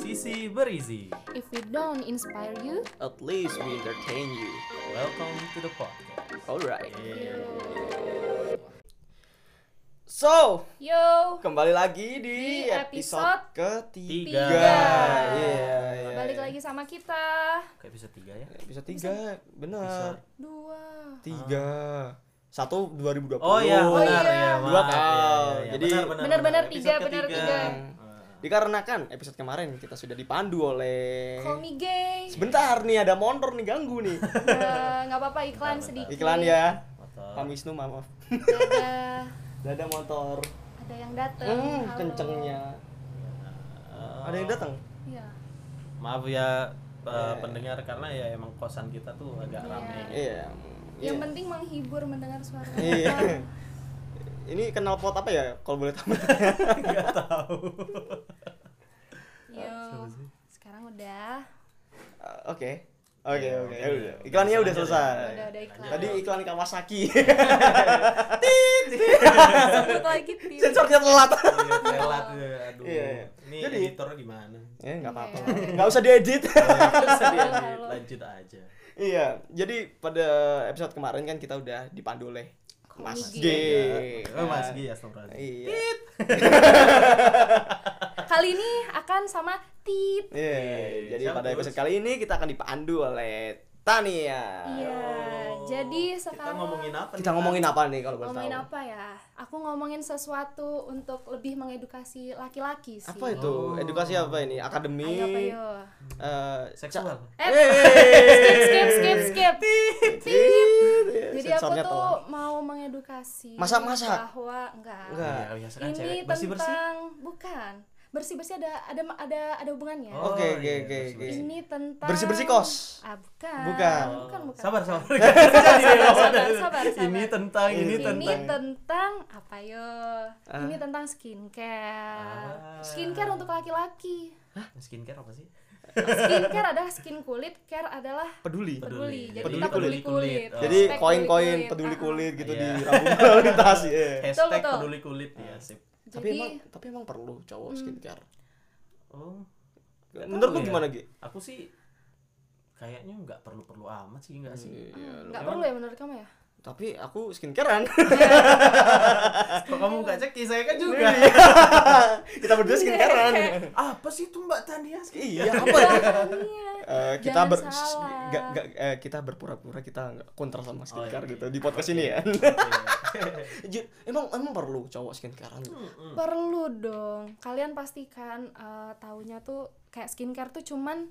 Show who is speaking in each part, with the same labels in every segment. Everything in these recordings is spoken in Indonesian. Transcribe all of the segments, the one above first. Speaker 1: Visi Berisi.
Speaker 2: If we don't inspire you,
Speaker 3: At least we entertain you.
Speaker 1: Welcome to the podcast.
Speaker 3: Alright.
Speaker 1: Yeah.
Speaker 3: So,
Speaker 2: yo,
Speaker 3: kembali lagi di,
Speaker 2: Di episode
Speaker 3: episode, ketiga.
Speaker 1: tiga.
Speaker 3: Iya, iya,
Speaker 2: balik
Speaker 3: iya.
Speaker 2: lagi sama kita.
Speaker 1: Kayak episode 3 ya.
Speaker 3: Episode tiga, benar.
Speaker 1: Episode-
Speaker 2: Dua.
Speaker 3: Tiga. Satu 2020.
Speaker 1: Oh iya,
Speaker 2: Oh,
Speaker 1: benar
Speaker 2: iya.
Speaker 1: ya.
Speaker 3: Dua
Speaker 1: maaf.
Speaker 3: kali.
Speaker 1: Iya, iya, iya.
Speaker 3: Jadi-
Speaker 1: Benar, benar,
Speaker 2: Benar-benar
Speaker 1: benar.
Speaker 2: tiga,
Speaker 1: Episode
Speaker 2: benar
Speaker 1: ketiga.
Speaker 2: tiga.
Speaker 1: Ah.
Speaker 3: Dikarenakan episode kemarin kita sudah dipandu oleh
Speaker 2: Call me gay.
Speaker 3: Sebentar nih ada motor nih ganggu nih.
Speaker 2: Eh, Nggak apa-apa iklan
Speaker 1: Bentar,
Speaker 2: sedikit.
Speaker 3: Iklan ya.
Speaker 1: Motor.
Speaker 3: Pak Wisnu maaf.
Speaker 2: Ada,
Speaker 3: Ada motor.
Speaker 2: ada yang datang.
Speaker 3: Hmm,
Speaker 2: Halo.
Speaker 3: kencengnya. Ada yang datang?
Speaker 2: Iya.
Speaker 1: eh, Maaf ya eh, pendengar karena ya emang kosan kita tuh agak
Speaker 2: Iya.
Speaker 1: rame.
Speaker 3: Iya.
Speaker 2: Yang
Speaker 3: iya.
Speaker 2: penting menghibur mendengar suara.
Speaker 3: Iya. Ini kenal pot apa ya kalau boleh tahu?
Speaker 1: Enggak tahu.
Speaker 2: Yo. Sekarang udah.
Speaker 3: Uh, Oke. Oke,
Speaker 1: Iya, oke.
Speaker 3: oke. ya udah. Iklannya udah
Speaker 1: Lanjut,
Speaker 3: selesai.
Speaker 1: ya.
Speaker 2: Udah ada iklan.
Speaker 3: Tadi iklan Kawasaki.
Speaker 2: Sebut lagi tim.
Speaker 3: Sensornya telat.
Speaker 1: Iya, Telat ya, aduh.
Speaker 3: Iya.
Speaker 1: Ini
Speaker 3: Jadi-
Speaker 1: editor gimana?
Speaker 3: Eh, enggak apa-apa.
Speaker 2: Oke.
Speaker 3: Enggak usah diedit.
Speaker 1: Bisa
Speaker 2: Halo,
Speaker 1: diedit,
Speaker 2: halo.
Speaker 1: lanjut aja.
Speaker 3: iya. Jadi pada episode kemarin kan kita udah dipandu oleh Mas
Speaker 2: Komigi.
Speaker 3: G.
Speaker 1: Oh, Mas Gi astagfirullahaladzim.
Speaker 3: Iya.
Speaker 2: Kali ini akan sama Tit.
Speaker 3: Iya. Jadi
Speaker 1: Siap,
Speaker 3: pada
Speaker 1: terus.
Speaker 3: episode kali ini kita akan dipandu oleh Tania.
Speaker 2: Iya. Jadi
Speaker 1: Kita
Speaker 2: sekarang
Speaker 1: ngomongin apa nih?
Speaker 3: Kita ngomongin apa nih kalau boleh tahu?
Speaker 2: ngomongin apa ya? Aku ngomongin sesuatu untuk lebih mengedukasi laki-laki sih.
Speaker 3: Apa itu?
Speaker 1: Oh.
Speaker 3: Edukasi apa ini? Akademi?
Speaker 2: Ayo apa yo?
Speaker 3: eh,
Speaker 1: Seksual.
Speaker 2: Eh,
Speaker 3: ca-
Speaker 2: skip,
Speaker 3: Yeay.
Speaker 2: skip, skip, skip. Jadi aku
Speaker 3: Iya, Sensornya
Speaker 2: tuh
Speaker 3: telat.
Speaker 2: mau mengedukasi
Speaker 3: Masak-masak?
Speaker 2: bahwa enggak.
Speaker 3: Enggak.
Speaker 1: Iya, biasa kan
Speaker 2: Ini
Speaker 1: cewek bersih-bersih.
Speaker 2: tentang bukan bersih-bersih ada ada ada ada hubungannya.
Speaker 1: Oh,
Speaker 3: Oke, oke,
Speaker 1: iya,
Speaker 3: oke,
Speaker 1: bersih-bersih.
Speaker 3: oke.
Speaker 2: Ini tentang
Speaker 3: Bersih-bersih kos?
Speaker 2: Ah, bukan.
Speaker 3: Bukan.
Speaker 2: Bukan, bukan.
Speaker 1: Oh, Sabar, sabar.
Speaker 2: sabar, sabar, sabar,
Speaker 1: Ini
Speaker 2: sabar.
Speaker 1: tentang, ini
Speaker 2: Ini tentang,
Speaker 1: tentang.
Speaker 2: apa yo?
Speaker 3: Ah.
Speaker 2: Ini tentang skincare.
Speaker 1: Ah.
Speaker 2: Skincare untuk laki-laki.
Speaker 1: Skincare apa sih?
Speaker 2: Skincare adalah skin kulit, care adalah
Speaker 3: peduli.
Speaker 2: peduli. Jadi
Speaker 3: Peduli
Speaker 2: kita
Speaker 3: kulit.
Speaker 2: peduli kulit.
Speaker 1: Oh.
Speaker 3: Jadi
Speaker 2: Respect
Speaker 3: koin-koin
Speaker 2: kulit.
Speaker 3: peduli
Speaker 2: Ah.
Speaker 3: kulit gitu
Speaker 1: Iya.
Speaker 3: di rambut lalu lintas iya.
Speaker 1: Hashtag
Speaker 2: betul. Ah.
Speaker 1: peduli kulit ya, sip.
Speaker 3: Tapi
Speaker 2: Jadi Hmm.
Speaker 3: emang tapi emang perlu cowok skincare.
Speaker 1: Oh, Nggak
Speaker 3: Menurut
Speaker 1: tahu
Speaker 3: lu
Speaker 1: ya.
Speaker 3: gimana, Gi?
Speaker 1: aku sih kayaknya nggak perlu-perlu amat sih, nggak sih?
Speaker 3: Iya.
Speaker 2: nggak
Speaker 1: Emang-
Speaker 2: perlu ya menurut kamu ya?
Speaker 3: Tapi aku skincarean.
Speaker 1: Kok kamu nggak cek? Saya kan juga.
Speaker 2: Iya.
Speaker 3: kita berdua skincarean.
Speaker 1: Apa sih itu Mbak Tania?
Speaker 3: iya, apa ya?
Speaker 2: Iya.
Speaker 3: Eh, kita
Speaker 2: Jangan
Speaker 3: ber
Speaker 2: salah.
Speaker 3: nggak- nggak, eh, kita berpura-pura kita nggak kontra sama skincare
Speaker 1: iya.
Speaker 3: gitu di podcast ini ya.
Speaker 1: Oke.
Speaker 3: Ju- emang emang perlu cowok skincarean gitu.
Speaker 2: Hmm. Perlu dong. Kalian pastikan eh, taunya tuh kayak skincare tuh cuman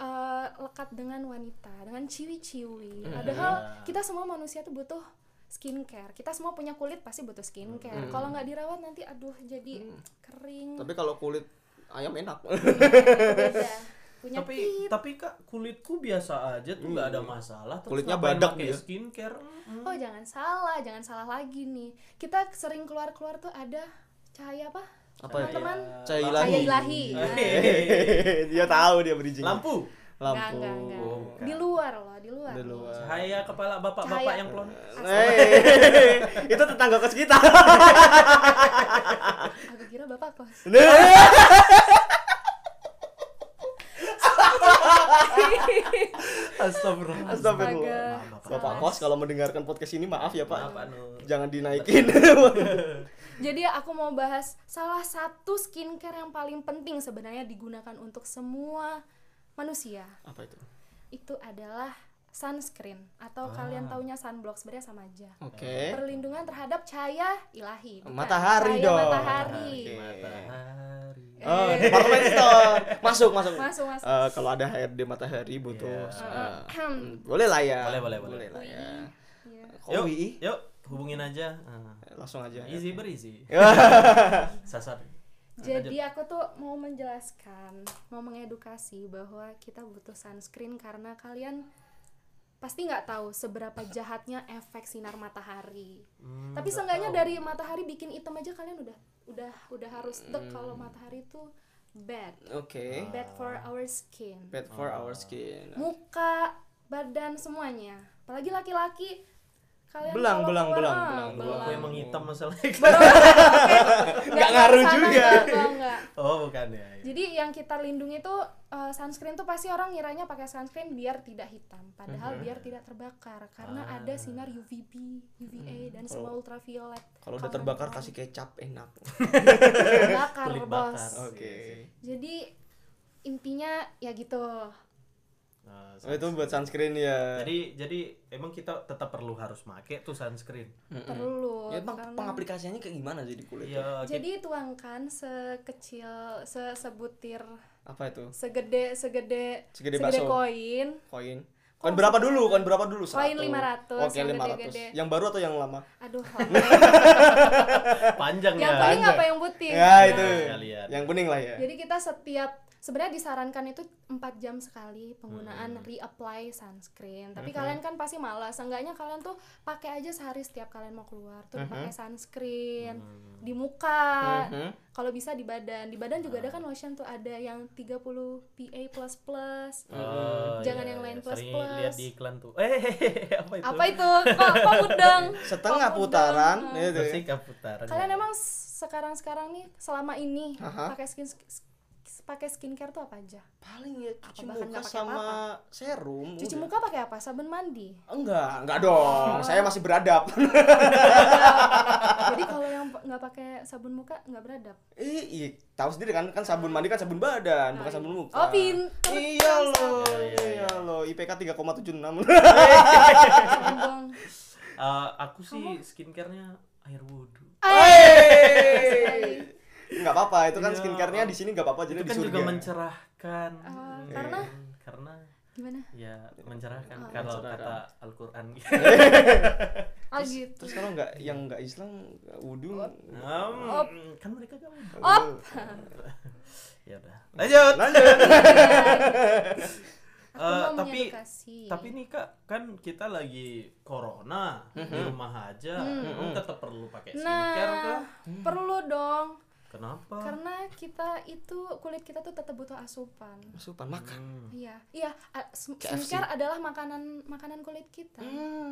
Speaker 2: eh, lekat dengan wanita, dengan ciwi-ciwi.
Speaker 3: Hmm.
Speaker 2: Padahal
Speaker 3: Iya.
Speaker 2: kita semua manusia tuh butuh skincare. Kita semua punya kulit pasti butuh skincare. Kalau nggak dirawat nanti aduh jadi kering.
Speaker 3: Hmm. Tapi kalau kulit ayam enak.
Speaker 2: beda. Punya
Speaker 1: tapi
Speaker 2: tit.
Speaker 1: tapi kak kulitku biasa aja tuh nggak ada masalah terus
Speaker 3: Kulitnya
Speaker 1: ngapain
Speaker 3: badak
Speaker 1: pakai
Speaker 3: dia.
Speaker 1: skincare
Speaker 2: Oh jangan salah, jangan salah lagi nih. Kita sering keluar-keluar tuh ada cahaya apa?
Speaker 3: Apa
Speaker 1: ya?
Speaker 2: Teman-teman,
Speaker 3: Cahaya
Speaker 2: cahaya
Speaker 3: ilahi. Iya.
Speaker 2: ilahi. Nah,
Speaker 3: Hehehe, dia tahu dia bridging.
Speaker 1: lampu
Speaker 3: Eh.
Speaker 2: Enggak, enggak, enggak. Di luar loh, di luar.
Speaker 3: Oh, Di
Speaker 2: nih.
Speaker 3: luar. Eh.
Speaker 1: cahaya kepala bapak-bapak
Speaker 2: Cahaya.
Speaker 1: yang pelon
Speaker 3: Hey, itu tetangga kos kita.
Speaker 2: Aku kira bapak kos.
Speaker 1: astagfirullah
Speaker 3: Astagfirullah.
Speaker 2: Astaga.
Speaker 3: Bapak kos kalau mendengarkan podcast ini maaf ya
Speaker 1: Maaf,
Speaker 3: Pak.
Speaker 1: anu.
Speaker 3: Jangan dinaikin.
Speaker 2: Jadi aku mau bahas salah satu skincare yang paling penting sebenarnya digunakan untuk semua manusia.
Speaker 3: Apa itu?
Speaker 2: Itu adalah sunscreen
Speaker 3: Ah.
Speaker 2: atau kalian taunya sunblock sebenarnya sama aja.
Speaker 3: Oke.
Speaker 2: Perlindungan terhadap cahaya ilahi. bukan?
Speaker 3: Matahari
Speaker 2: Cahaya
Speaker 3: dong.
Speaker 2: Matahari. Iya.
Speaker 3: Oke.
Speaker 1: matahari
Speaker 3: Oh, departemen store. Masuk, masuk.
Speaker 2: Masuk, masuk.
Speaker 3: Eh, kalau ada HRD Matahari butuh.
Speaker 1: Iya.
Speaker 3: eh,
Speaker 2: Ahem.
Speaker 3: boleh lah ya.
Speaker 1: Boleh, boleh, boleh.
Speaker 3: lah ya.
Speaker 2: Iya.
Speaker 3: Kok
Speaker 1: yuk
Speaker 3: WI? Ya,
Speaker 1: yuk hubungin aja Ah.
Speaker 3: Langsung aja.
Speaker 1: easy berisi sasar
Speaker 2: Jadi aku tuh mau menjelaskan, mau mengedukasi bahwa kita butuh sunscreen karena kalian pasti nggak tahu seberapa jahatnya efek sinar matahari.
Speaker 1: Hmm,
Speaker 2: Tapi
Speaker 1: nggak
Speaker 2: seenggaknya
Speaker 1: tahu.
Speaker 2: dari matahari bikin item aja kalian udah udah udah harus dek
Speaker 3: Hmm.
Speaker 2: kalau matahari itu bad,
Speaker 3: Oke.
Speaker 2: bad for our skin.
Speaker 3: Bad for our skin.
Speaker 2: Muka, badan semuanya. Apalagi laki-laki Kalian
Speaker 3: Belang,
Speaker 2: kalau
Speaker 3: belang,
Speaker 2: keluar-
Speaker 3: belang,
Speaker 2: ah,
Speaker 3: belang, belang.
Speaker 1: Aku emang hitam
Speaker 3: Hmm.
Speaker 1: masalahnya.
Speaker 2: Nggak
Speaker 3: Nggak ngaruh
Speaker 2: kesana
Speaker 3: juga.
Speaker 2: gitu, nggak.
Speaker 1: oh bukan ya. ya.
Speaker 2: Jadi yang kita lindungi itu eh, sunscreen tuh pasti orang ngiranya pakai sunscreen biar tidak hitam, padahal
Speaker 3: Mhm.
Speaker 2: biar tidak terbakar karena
Speaker 1: Ah.
Speaker 2: ada sinar UVB, UVA dan semua ultraviolet.
Speaker 3: Hmm. Kalau udah terbakar kasih kecap enak.
Speaker 2: terbakar,
Speaker 1: Kulit bakar.
Speaker 2: bos.
Speaker 1: Oh.
Speaker 3: Oke.
Speaker 2: Jadi intinya ya gitu.
Speaker 1: Nah,
Speaker 3: Oh, itu buat sunscreen ya.
Speaker 1: Jadi jadi emang kita tetap perlu harus make tuh sunscreen.
Speaker 2: Perlu.
Speaker 3: Ya emang
Speaker 2: karena-
Speaker 3: pengaplikasiannya kayak gimana jadi kulit? ya?
Speaker 1: Iya. kita-
Speaker 2: Jadi tuangkan sekecil se- sebutir
Speaker 3: Apa itu?
Speaker 2: segede segede
Speaker 3: Segede bakso.
Speaker 2: koin.
Speaker 3: Koin. Koin berapa dulu? Koin berapa dulu?
Speaker 2: Oh, Koin
Speaker 3: 100.
Speaker 2: 500,
Speaker 3: Oke,
Speaker 2: yang
Speaker 3: 500.
Speaker 2: gede-gede.
Speaker 3: Yang baru atau yang lama?
Speaker 2: Aduh.
Speaker 1: Panjang
Speaker 2: yang
Speaker 1: ya.
Speaker 2: kuning apa yang putih?
Speaker 3: ya, itu.
Speaker 1: sekalian.
Speaker 3: Yang kuning lah ya.
Speaker 2: Iya. Jadi kita setiap sebenarnya disarankan itu 4 jam sekali
Speaker 3: Hmm.
Speaker 2: penggunaan reapply sunscreen. Tapi kalian kan pasti malas. Seenggaknya kalian tuh pakai aja sehari setiap kalian mau keluar tuh
Speaker 3: Hmm.
Speaker 2: pakai sunscreen
Speaker 1: Hmm.
Speaker 2: di muka.
Speaker 3: Mhm.
Speaker 2: Kalau bisa di badan. Di badan juga
Speaker 3: Hmm.
Speaker 2: ada kan lotion tuh ada yang 30 PA++.
Speaker 3: Hmm.
Speaker 1: Oh,
Speaker 2: Jangan
Speaker 1: iya,
Speaker 2: yang lain
Speaker 1: iya. Sering
Speaker 2: plus-plus.
Speaker 1: lihat di iklan tuh. Eh, apa itu?
Speaker 2: Apa itu? Kok kok udang?
Speaker 3: Setengah
Speaker 2: Kok udang?
Speaker 3: putaran ya,
Speaker 2: Nah.
Speaker 3: itu.
Speaker 1: Bersih putaran.
Speaker 2: Kalian
Speaker 1: ya.
Speaker 2: emang s- sekarang-sekarang nih selama ini
Speaker 3: Aha.
Speaker 2: pakai skin s- pakai skincare tuh apa aja?
Speaker 3: Paling ya cuci
Speaker 2: bahkan
Speaker 3: muka
Speaker 2: nggak pakai
Speaker 3: sama serum.
Speaker 2: Cuci
Speaker 3: udah.
Speaker 2: muka Oh. pakai apa? Sabun mandi.
Speaker 3: Enggak, enggak dong. Saya masih beradab.
Speaker 2: Jadi kalau yang pa- nggak pakai sabun muka nggak beradab.
Speaker 3: Ih, iya, tahu sendiri kan kan sabun mandi kan sabun badan, bukan sabun muka.
Speaker 2: Oh, pinter.
Speaker 3: Iya loh,
Speaker 1: Nah, Iya, iya,
Speaker 3: iya loh. IPK 3,76.
Speaker 2: Sombong.
Speaker 1: Eh, aku sih
Speaker 2: Oh.
Speaker 1: skincare-nya air wudhu.
Speaker 3: Ah. Hey! Nggak apa-apa, itu kan
Speaker 1: Iya.
Speaker 3: skincare-nya di sini nggak apa-apa jadi
Speaker 1: itu
Speaker 3: di
Speaker 1: kan
Speaker 3: surga. ya?
Speaker 1: juga mencerahkan.
Speaker 2: Ah,
Speaker 1: Hmm,
Speaker 2: karena? Oh.
Speaker 1: karena
Speaker 2: Gimana?
Speaker 1: ya mencerahkan kalau kata
Speaker 3: Mencerahkan.
Speaker 1: Al-Qur'an.
Speaker 2: Oh gitu. Oh.
Speaker 3: Terus kalau nggak yang nggak Islam nggak wudhu
Speaker 1: Hmm,
Speaker 2: Op.
Speaker 1: kan mereka gak mau.
Speaker 2: Op.
Speaker 1: Ya udah. Lanjut. Lanjut.
Speaker 2: Aku mau
Speaker 1: Eh, tapi
Speaker 2: mengedukasi.
Speaker 1: tapi nih Kak, kan kita lagi corona di rumah aja. Emang tetap perlu pakai skincare
Speaker 2: Nah,
Speaker 1: kah?
Speaker 2: perlu dong.
Speaker 1: Kenapa?
Speaker 2: Karena kita itu kulit kita tuh tetap butuh asupan.
Speaker 3: Supan makan.
Speaker 1: Hmm.
Speaker 2: Iya, iya. a- s- Skincare adalah makanan makanan kulit kita.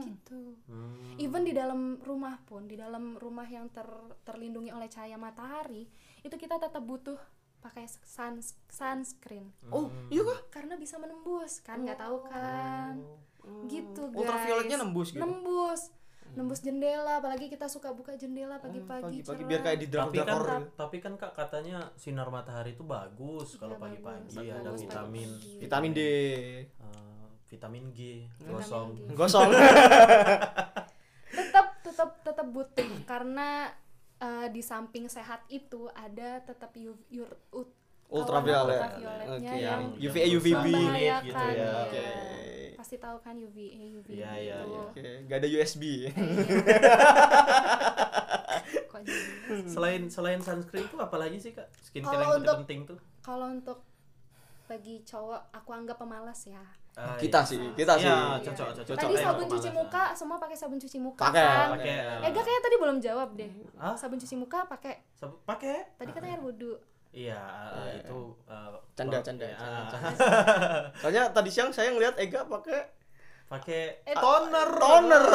Speaker 2: Gitu.
Speaker 1: Hmm.
Speaker 2: Even di dalam rumah pun, di dalam rumah yang ter- terlindungi oleh cahaya matahari, itu kita tetap butuh pakai sun sunscreen
Speaker 1: Hmm.
Speaker 3: Oh, iya kah?
Speaker 2: karena bisa menembus kan nggak tahu kan
Speaker 1: Oh.
Speaker 2: gitu guys
Speaker 3: Hmm. Ultravioletnya nembus Oh. gitu?
Speaker 2: nembus nembus jendela apalagi kita suka buka jendela pagi-pagi
Speaker 3: Hmm, Pagi-pagi
Speaker 2: cerah.
Speaker 3: biar kayak di gitu. drama
Speaker 1: tapi kan
Speaker 3: horor.
Speaker 1: tapi kan kak katanya sinar matahari itu bagus kalau
Speaker 2: Iya, bagus,
Speaker 1: pagi-pagi Iya, ada
Speaker 2: bagus
Speaker 1: vitamin
Speaker 2: pagi-pagi.
Speaker 3: Vitamin D.
Speaker 1: eh, vitamin G gosong
Speaker 2: G.
Speaker 3: Gosong.
Speaker 2: tetap tetap tetap butuh karena eh, di samping sehat itu ada tetap U- ur- ut-
Speaker 3: Ultraviolet.
Speaker 2: kawan ultravioletnya
Speaker 3: Oke.
Speaker 2: yang
Speaker 3: UVA UVB.
Speaker 1: Membahayakan,
Speaker 2: gitu ya.
Speaker 3: Oke.
Speaker 2: Pasti tahu kan UVA, UVB
Speaker 1: Iya, iya,
Speaker 2: itu.
Speaker 1: iya.
Speaker 3: Oke, nggak ada USB.
Speaker 2: Kok jadi?
Speaker 1: selain selain sunscreen itu apalagi sih kak skincare
Speaker 2: Kalau
Speaker 1: yang
Speaker 2: untuk-
Speaker 1: penting tuh
Speaker 2: Kalau untuk bagi cowok aku anggap pemalas ya.
Speaker 1: Ah,
Speaker 3: Kita sih, kita sih.
Speaker 1: Iya, cocok, cocok.
Speaker 2: Tadi
Speaker 1: ayo,
Speaker 2: sabun
Speaker 1: pemalasan.
Speaker 2: cuci muka semua pakai sabun cuci muka
Speaker 3: Pakai.
Speaker 2: kan?
Speaker 1: ya. pakai eh,
Speaker 2: Eh, gak kayak tadi belum jawab deh.
Speaker 1: Hah?
Speaker 2: Sabun cuci muka pakai
Speaker 1: sabu- pakai
Speaker 2: tadi katanya air wudhu.
Speaker 1: iya eh, itu eh,
Speaker 3: iya. Canda,
Speaker 1: apa-
Speaker 3: canda,
Speaker 1: ya,
Speaker 3: canda,
Speaker 1: ah,
Speaker 3: Soalnya tadi siang saya ngeliat Ega pakai
Speaker 1: pakai
Speaker 2: Eh,
Speaker 1: toner hmm,
Speaker 3: toner.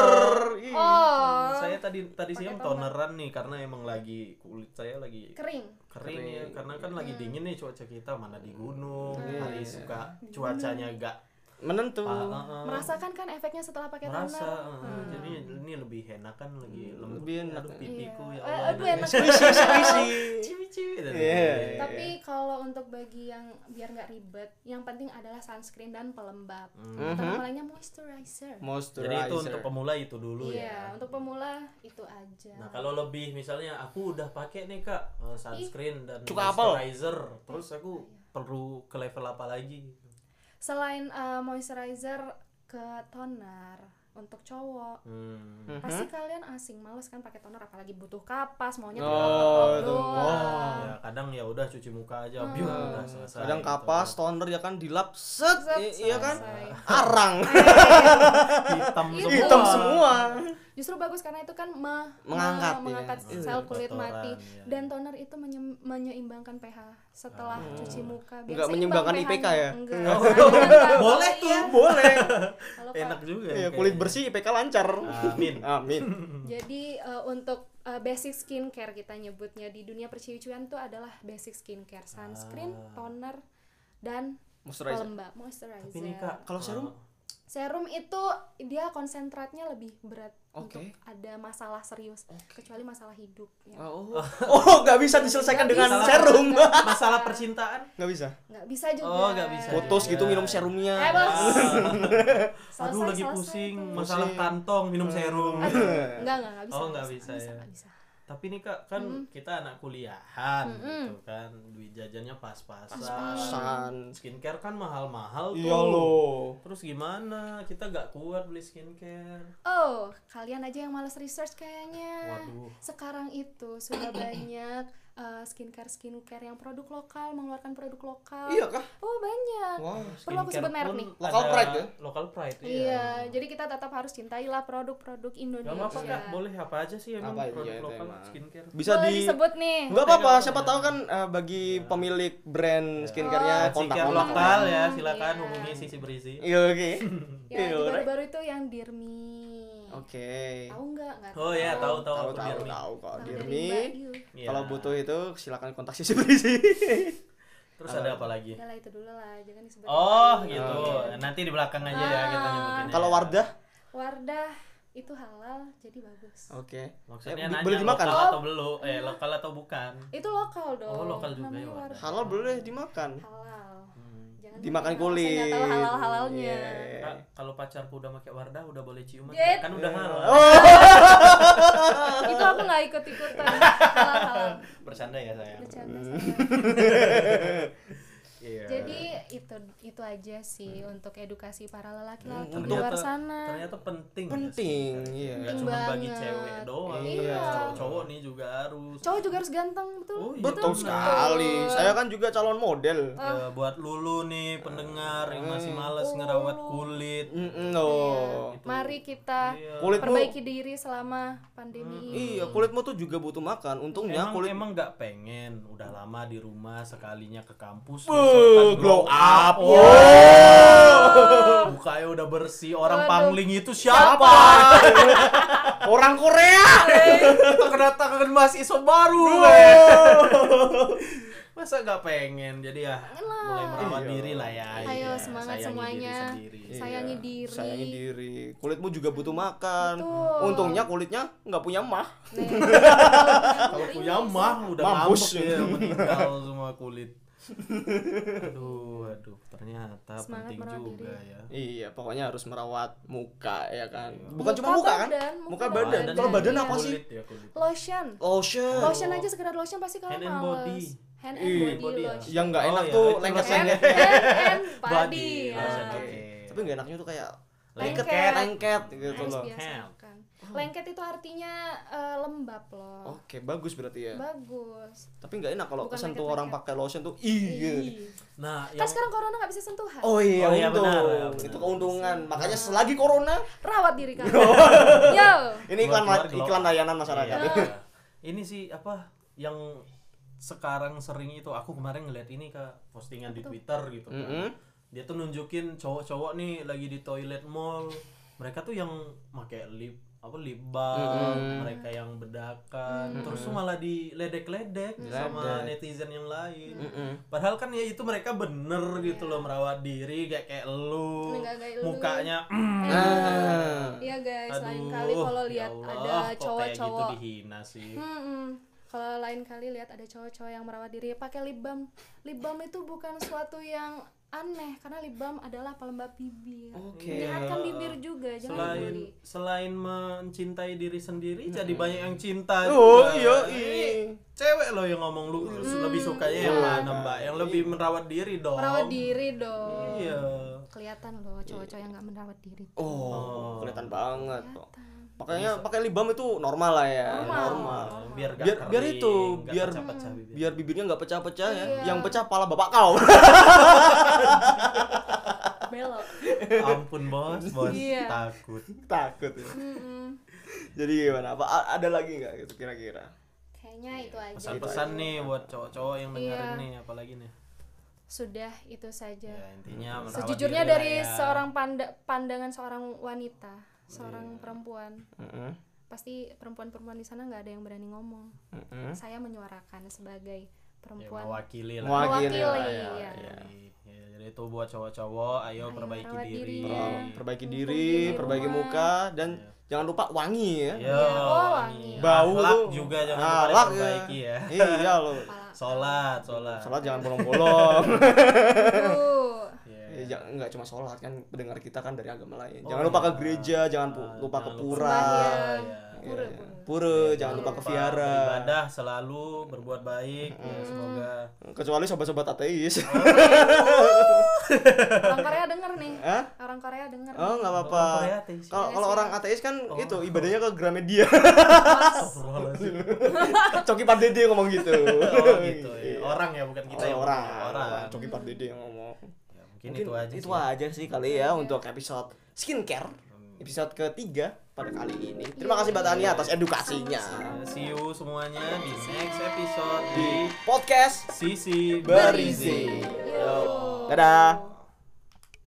Speaker 3: Ih.
Speaker 2: Oh,
Speaker 1: saya tadi tadi
Speaker 2: Pakai
Speaker 1: siang
Speaker 2: toner.
Speaker 1: toneran nih karena emang lagi kulit saya lagi
Speaker 2: kering.
Speaker 1: kering ya
Speaker 3: Kering.
Speaker 1: karena kan
Speaker 2: Hmm.
Speaker 1: lagi dingin nih cuaca kita mana di gunung
Speaker 3: Hmm.
Speaker 1: hari
Speaker 3: Iya.
Speaker 1: suka cuacanya gak
Speaker 3: Menentu.
Speaker 2: Hmm. Merasakan kan efeknya setelah
Speaker 1: Oh.
Speaker 2: pakai
Speaker 1: eh, merasa
Speaker 2: toner?
Speaker 1: eh, jadi ini lebih enak kan lagi lembut
Speaker 3: Hmm. lebih enak.
Speaker 1: aduh pipiku
Speaker 2: Iya.
Speaker 1: ya
Speaker 2: Eh,
Speaker 1: Allah
Speaker 2: aduh enak
Speaker 3: Squishy, squishy.
Speaker 1: ciwi-ciwi
Speaker 3: Iya.
Speaker 2: Tapi kalau untuk bagi yang biar nggak ribet, yang penting adalah sunscreen dan pelembab.
Speaker 1: Mm-hmm.
Speaker 2: Pertama lainnya moisturizer.
Speaker 3: Moisturizer.
Speaker 1: jadi itu untuk pemula itu dulu
Speaker 2: Iya,
Speaker 1: ya
Speaker 2: untuk pemula itu aja.
Speaker 1: nah kalau lebih misalnya aku udah pakai nih kak eh, sunscreen dan
Speaker 3: Cuka apel.
Speaker 1: moisturizer terus aku perlu ke level apa lagi
Speaker 2: Selain eh, moisturizer ke toner untuk cowok,
Speaker 1: hmm.
Speaker 2: pasti kalian asing males kan pakai toner apalagi butuh kapas maunya
Speaker 3: Oh,
Speaker 2: oh,
Speaker 3: tuh.
Speaker 2: doang.
Speaker 1: ya kadang ya udah cuci muka aja
Speaker 2: Hmm.
Speaker 1: biar udah selesai
Speaker 3: kadang
Speaker 1: gitu.
Speaker 3: kapas toner ya kan dilap set,
Speaker 2: Set,
Speaker 3: i- iya kan
Speaker 2: selesai.
Speaker 3: arang
Speaker 1: kan. hitam semua
Speaker 3: hitam semua
Speaker 2: Justru bagus karena itu kan me-
Speaker 3: Mengangkat,
Speaker 2: me- mengangkat
Speaker 1: ya.
Speaker 2: sel
Speaker 1: Iya,
Speaker 2: kulit
Speaker 1: kotoran,
Speaker 2: mati
Speaker 1: iya.
Speaker 2: dan toner itu menye- menyeimbangkan pH setelah
Speaker 1: Ah.
Speaker 2: cuci muka. Biar
Speaker 3: Nggak
Speaker 2: seimbang
Speaker 3: menyeimbangkan
Speaker 2: pH-nya.
Speaker 3: IPK ya?
Speaker 2: Enggak.
Speaker 3: Oh.
Speaker 2: Kalau-
Speaker 1: Boleh tuh.
Speaker 2: iya,
Speaker 3: Boleh.
Speaker 2: kalau Pak-
Speaker 1: ya? Enak juga. ya
Speaker 3: Iya, kulit
Speaker 1: kayaknya.
Speaker 3: bersih IPK lancar.
Speaker 1: Amin.
Speaker 3: Amin.
Speaker 2: Jadi eh, untuk eh, basic skincare kita nyebutnya di dunia perciuan tuh adalah basic skincare, sunscreen,
Speaker 1: Ah.
Speaker 2: toner dan
Speaker 3: Moisturizer.
Speaker 2: pelembab moisturizer.
Speaker 1: Tapi nih kak,
Speaker 3: Kalau serum?
Speaker 2: Serum itu dia konsentratnya lebih berat
Speaker 3: Oke.
Speaker 2: untuk ada masalah serius, kecuali masalah hidup. Ya.
Speaker 3: Oh, oh, nggak bisa diselesaikan dengan
Speaker 1: bisa.
Speaker 3: serum.
Speaker 2: Nggak bisa.
Speaker 1: masalah percintaan
Speaker 3: Nggak bisa.
Speaker 2: Nggak bisa juga.
Speaker 1: Oh, nggak bisa.
Speaker 3: Putus gitu minum serumnya.
Speaker 2: Eh, bos. Selesai,
Speaker 1: aduh lagi
Speaker 2: selesai
Speaker 1: pusing
Speaker 2: tuh.
Speaker 1: masalah
Speaker 3: Pusing.
Speaker 1: kantong minum serum
Speaker 2: Aduh, Nggak, nggak, nggak bisa.
Speaker 1: Oh, nggak bisa ya.
Speaker 2: nggak bisa.
Speaker 1: tapi nih kak kan kita anak kuliahan gitu kan duit jajannya pas-pasan
Speaker 3: Pas-pasan.
Speaker 1: skincare kan mahal-mahal tuh
Speaker 3: Iya loh.
Speaker 1: terus gimana kita nggak kuat beli skincare
Speaker 2: Oh, kalian aja yang malas research kayaknya.
Speaker 1: Waduh.
Speaker 2: Sekarang itu sudah banyak eh, skincare-skincare yang produk lokal, mengeluarkan produk lokal.
Speaker 3: Iya kah?
Speaker 2: Oh, banyak.
Speaker 3: Wah.
Speaker 2: Perlu aku sebut merek nih?
Speaker 3: Local pride ya?
Speaker 1: Local pride iya.
Speaker 2: Iya, jadi kita tetap harus cintailah produk-produk Indonesia.
Speaker 1: Gak apa-apa kak, boleh apa aja sih emang
Speaker 3: Apa aja
Speaker 1: produk
Speaker 3: itu
Speaker 1: lokal
Speaker 3: emang.
Speaker 1: skincare
Speaker 3: Bisa
Speaker 2: Boleh
Speaker 3: di
Speaker 2: disebut nih.
Speaker 3: Enggak apa-apa, siapa tahu kan eh, bagi pemilik brand skincare-nya
Speaker 1: Iya. Ah,
Speaker 3: kontak
Speaker 1: Skincare
Speaker 3: kontak.
Speaker 1: lokal ya,
Speaker 2: Hmm,
Speaker 1: silakan
Speaker 2: iya.
Speaker 1: hubungi sisi berisi
Speaker 3: Iya, oke.
Speaker 2: Ya, di
Speaker 3: Iya, alright.
Speaker 2: baru-baru itu yang Dirmi.
Speaker 3: Oke.
Speaker 2: Tahu nggak? Nggak
Speaker 1: Oh ya, tahu tahu
Speaker 3: Tahu
Speaker 1: aku
Speaker 3: tahu
Speaker 1: Dirmi.
Speaker 3: tahu kok
Speaker 2: Tahu dari
Speaker 3: Dirmi.
Speaker 2: Mbak Yu.
Speaker 1: Iya.
Speaker 3: Kalau butuh itu silakan kontak sisi berisi.
Speaker 1: Terus ada apa lagi?
Speaker 2: Udah lah itu dulu lah, jangan disebut.
Speaker 1: Oh gitu, nanti di belakang aja ya
Speaker 2: Ah.
Speaker 1: kita nyebutin
Speaker 3: Kalau Wardah,
Speaker 2: Wardah itu halal, jadi bagus.
Speaker 1: Oh.
Speaker 3: oke.
Speaker 1: Maksudnya
Speaker 3: Eh,
Speaker 1: nanya
Speaker 3: boleh dimakan.
Speaker 1: lokal atau belum?
Speaker 2: Iya.
Speaker 1: Eh lokal atau bukan?
Speaker 2: Itu lokal dong.
Speaker 1: Oh, lokal juga
Speaker 2: namanya
Speaker 1: ya, Hmm.
Speaker 2: Wardah.
Speaker 3: Halal boleh dimakan.
Speaker 2: Halal. Jangan
Speaker 3: Dimakan
Speaker 2: pakai nama, saya
Speaker 3: kulit.
Speaker 2: nggak tahu halal-halalnya.
Speaker 3: Iya.
Speaker 1: Kak, kalau pacarku udah pakai Wardah udah boleh ciuman?
Speaker 2: Yet.
Speaker 1: Kan udah halal.
Speaker 3: Oh.
Speaker 1: Iya.
Speaker 2: itu aku nggak ikut-ikutan. halal-halal.
Speaker 1: Bercanda ya saya.
Speaker 2: Bercanda saya.
Speaker 1: Iya.
Speaker 2: Jadi itu itu aja sih untuk edukasi para
Speaker 1: Hmm,
Speaker 2: lelaki-lelaki di
Speaker 1: Ternyata-
Speaker 2: luar sana.
Speaker 1: Ternyata penting. ya
Speaker 3: Penting,
Speaker 1: skincare.
Speaker 3: iya.
Speaker 1: Nggak cuma bagi
Speaker 2: Penting
Speaker 1: cewek
Speaker 2: banget.
Speaker 1: doang.
Speaker 2: Iya.
Speaker 1: Cowok-cowok nih juga harus.
Speaker 2: Cowok juga harus ganteng, betul?
Speaker 1: Oh, iya.
Speaker 3: Betul
Speaker 1: Betul.
Speaker 3: sekali. Saya kan juga calon model.
Speaker 1: Ya, buat lulu nih pendengar yang masih males
Speaker 3: Oh.
Speaker 1: ngerawat kulit.
Speaker 3: Mm, loh.
Speaker 2: Mari kita
Speaker 1: Iya. Hmm.
Speaker 3: Kulitmu
Speaker 2: perbaiki diri selama pandemi.
Speaker 3: Iya, kulitmu tuh juga butuh makan.
Speaker 1: Emang
Speaker 3: Untungnya Ya, kulit
Speaker 1: emang nggak pengen udah lama di rumah sekalinya ke kampus
Speaker 3: Wuh,
Speaker 1: besok kan
Speaker 3: glow up.
Speaker 1: Oh. Mukanya udah bersih, orang
Speaker 2: Aduh.
Speaker 1: pangling itu siapa?
Speaker 3: Orang Korea.
Speaker 1: Kita kedatangan mahasiswa baru. Masa nggak pengen? Jadi ya mulai merawat
Speaker 3: Iya.
Speaker 1: diri lah ya.
Speaker 2: Ayo,
Speaker 1: Iya,
Speaker 2: semangat
Speaker 1: sayangi
Speaker 2: semuanya.
Speaker 1: Diri sendiri.
Speaker 2: Sayangi diri.
Speaker 3: Sayangi diri. Kulitmu juga butuh makan.
Speaker 2: Betul.
Speaker 3: Untungnya kulitnya nggak punya mah.
Speaker 2: Nih.
Speaker 1: Kalau punya mah udah
Speaker 3: Mampus.
Speaker 1: mampus ya, meninggal semua kulit. Aduh, aduh, ternyata
Speaker 2: Semangat
Speaker 1: penting
Speaker 2: merawat
Speaker 1: juga
Speaker 2: diri.
Speaker 1: ya.
Speaker 3: Iya, pokoknya harus merawat muka ya kan. Bukan cuma muka kan?
Speaker 2: badan,
Speaker 3: Muka badan.
Speaker 1: Badan.
Speaker 3: Kalau badan
Speaker 2: Iya.
Speaker 3: apa sih? Oh,
Speaker 1: Kulit ya, kulit.
Speaker 2: Lotion.
Speaker 3: Lotion.
Speaker 2: Lotion aja sekedar lotion pasti kalian
Speaker 1: Hand and
Speaker 2: males.
Speaker 1: body.
Speaker 2: Hand
Speaker 3: Ih.
Speaker 2: and body
Speaker 1: Body ya.
Speaker 2: lotion.
Speaker 3: Yang nggak
Speaker 1: Oh,
Speaker 3: enak
Speaker 1: iya,
Speaker 3: tuh
Speaker 1: itu
Speaker 3: lengket-lengket.
Speaker 2: Hand and body.
Speaker 1: Body.
Speaker 2: ya.
Speaker 1: Lotion.
Speaker 3: Oke. Tapi nggak enaknya tuh kayak
Speaker 2: Lengket.
Speaker 3: lengket gitu
Speaker 2: Harus
Speaker 3: loh.
Speaker 2: biasakan. Lengket itu artinya eh, lembab loh.
Speaker 3: Oke, bagus berarti ya.
Speaker 2: Bagus.
Speaker 3: Tapi nggak enak kalau
Speaker 2: Bukan
Speaker 3: kesentuh
Speaker 2: lengket-lengket.
Speaker 3: orang pakai lotion tuh iya.
Speaker 2: Ih.
Speaker 1: Nah,
Speaker 2: Kan sekarang corona nggak bisa sentuhan.
Speaker 3: Oh iya,
Speaker 1: Oh iya,
Speaker 3: untung.
Speaker 1: benar, ya, benar.
Speaker 3: Itu keuntungan.
Speaker 2: Iya.
Speaker 3: Makanya selagi corona,
Speaker 2: Rawat diri kalian. Yo.
Speaker 3: ini iklan
Speaker 1: Keluar-keluar gelok.
Speaker 3: iklan layanan masyarakat.
Speaker 1: Iya. ini sih apa yang sekarang sering itu aku kemarin ngeliat ini kak postingan di Twitter gitu kan.
Speaker 3: Mm-mm.
Speaker 1: Dia tuh nunjukin cowok-cowok nih lagi di toilet mall. Mereka tuh yang pakai lip apa lip balm, mereka yang bedakan, terus tuh malah diledek-ledek sama netizen yang lain. Padahal kan ya itu mereka bener gitu loh merawat diri kayak kayak lu,
Speaker 2: Nggak kayak Iya. lu.
Speaker 1: mukanya
Speaker 3: Ah.
Speaker 2: Iya guys, lain
Speaker 1: Aduh,
Speaker 2: kali kalau
Speaker 1: ya
Speaker 2: lihat
Speaker 1: Allah,
Speaker 2: ada
Speaker 1: kok kayak
Speaker 2: cowok-cowok
Speaker 1: gitu dihina sih.
Speaker 2: Mm-mm. Kalau lain kali lihat ada cowok-cowok yang merawat diri pakai lip balm. Lip balm itu bukan suatu yang aneh karena lip balm adalah pelembab bibir.
Speaker 3: Oke.
Speaker 2: Menyehatkan bibir juga, jangan
Speaker 1: selain
Speaker 2: dibully.
Speaker 1: selain mencintai diri sendiri jadi banyak yang cinta
Speaker 3: Oh,
Speaker 1: juga.
Speaker 3: iya,
Speaker 1: Ini
Speaker 3: iya.
Speaker 1: cewek lo yang ngomong lu lebih sukanya yang mana
Speaker 3: kan.
Speaker 1: mbak yang lebih merawat diri dong
Speaker 2: Iya. Merawat diri dong.
Speaker 1: iya
Speaker 2: Kelihatan loh cowok-cowok yang nggak merawat diri.
Speaker 3: Oh, kelihatan banget kok. Makanya pakai lip balm itu normal lah ya, normal.
Speaker 1: biar gak
Speaker 3: Biar- biar
Speaker 1: kering,
Speaker 3: itu,
Speaker 1: gak gitu.
Speaker 3: biar-
Speaker 1: pecah-pecah bibir.
Speaker 3: Biar bibirnya nggak pecah-pecah ya.
Speaker 2: Iya.
Speaker 3: Yang pecah pala bapak kau.
Speaker 2: Belok.
Speaker 1: Ya ampun bos bos
Speaker 2: Iya.
Speaker 1: takut
Speaker 3: Takut. ya. Jadi gimana? Apa a- ada lagi nggak gitu kira-kira?
Speaker 2: Kayaknya
Speaker 1: Iya,
Speaker 2: itu gitu aja.
Speaker 1: Pesan-pesan nih buat cowok-cowok yang dengerin
Speaker 2: Iya.
Speaker 1: nih apalagi nih.
Speaker 2: Sudah itu saja.
Speaker 1: Ya intinya merawat
Speaker 2: Iya. Sejujurnya
Speaker 1: diri lah
Speaker 2: dari
Speaker 1: ya. Iya.
Speaker 2: seorang panda- pandangan seorang wanita, seorang perempuan,
Speaker 3: Heeh.
Speaker 2: pasti perempuan-perempuan di sana nggak ada yang berani ngomong.
Speaker 3: Heeh.
Speaker 2: Saya menyuarakan sebagai
Speaker 1: Ya,
Speaker 2: perempuan.
Speaker 1: mewakili lah.
Speaker 3: Mewakili.
Speaker 2: Mewakili,
Speaker 3: lah ya,
Speaker 2: iya.
Speaker 3: iya.
Speaker 1: Ya, jadi itu buat cowok-cowok ayo,
Speaker 2: Ayo
Speaker 1: perbaiki
Speaker 2: rawat
Speaker 1: diri.
Speaker 2: diri.
Speaker 3: Oh,
Speaker 2: Iya.
Speaker 3: perbaiki
Speaker 2: Mumpung
Speaker 3: diri,
Speaker 2: di
Speaker 3: perbaiki
Speaker 2: rumah.
Speaker 3: muka dan
Speaker 1: Iya.
Speaker 3: jangan lupa wangi ya.
Speaker 1: Yo,
Speaker 2: Iya, oh, wangi.
Speaker 3: Bau
Speaker 1: Akhlak
Speaker 3: tuh.
Speaker 1: juga jangan lupa
Speaker 3: Akhlak ya.
Speaker 1: diperbaiki ya.
Speaker 3: Iya lo.
Speaker 2: Kepala
Speaker 1: Sholat, sholat.
Speaker 3: Sholat jangan bolong-bolong.
Speaker 2: dulu.
Speaker 1: Iya.
Speaker 3: Eh, jangan nggak cuma sholat kan pendengar kita kan dari agama lain.
Speaker 1: Oh,
Speaker 3: Jangan lupa ke
Speaker 1: iya.
Speaker 3: gereja, jangan pu-
Speaker 1: Ah,
Speaker 3: lupa ke
Speaker 1: jangan lupa
Speaker 3: pura,
Speaker 2: Sembahyang.
Speaker 1: Iya.
Speaker 3: Iya,
Speaker 2: Pura,
Speaker 3: iya.
Speaker 2: pura.
Speaker 3: pura, jangan lupa ke viara.
Speaker 1: Ibadah selalu berbuat baik. Ya, semoga
Speaker 3: Kecuali sobat-sobat ateis.
Speaker 2: Orang Korea denger nih.
Speaker 3: Hah?
Speaker 2: Orang Korea denger.
Speaker 3: Oh nggak apa-apa.
Speaker 1: Orang Korea ateis.
Speaker 3: Kalau kalau orang ateis kan
Speaker 1: Oh.
Speaker 3: itu ibadahnya ke Gramedia.
Speaker 1: Astagfirullahaladzim.
Speaker 3: Coki Pardede ngomong gitu.
Speaker 1: Oh, gitu ya.
Speaker 3: Iya.
Speaker 1: Orang ya bukan kita
Speaker 3: Oh,
Speaker 1: yang
Speaker 3: orang.
Speaker 1: ngomong,
Speaker 3: orang.
Speaker 1: Orang.
Speaker 3: Coki Pardede yang ngomong.
Speaker 1: Ya, mungkin, itu aja.
Speaker 3: Itu
Speaker 1: sih. Hmm.
Speaker 3: aja sih kali ya untuk episode skincare episode ketiga pada kali ini. Terima kasih Mbak Tania atas edukasinya.
Speaker 1: Ya, See you semuanya di next episode di
Speaker 3: Podcast
Speaker 1: Sisi
Speaker 3: Berizin.
Speaker 2: Yo.
Speaker 3: Dadah.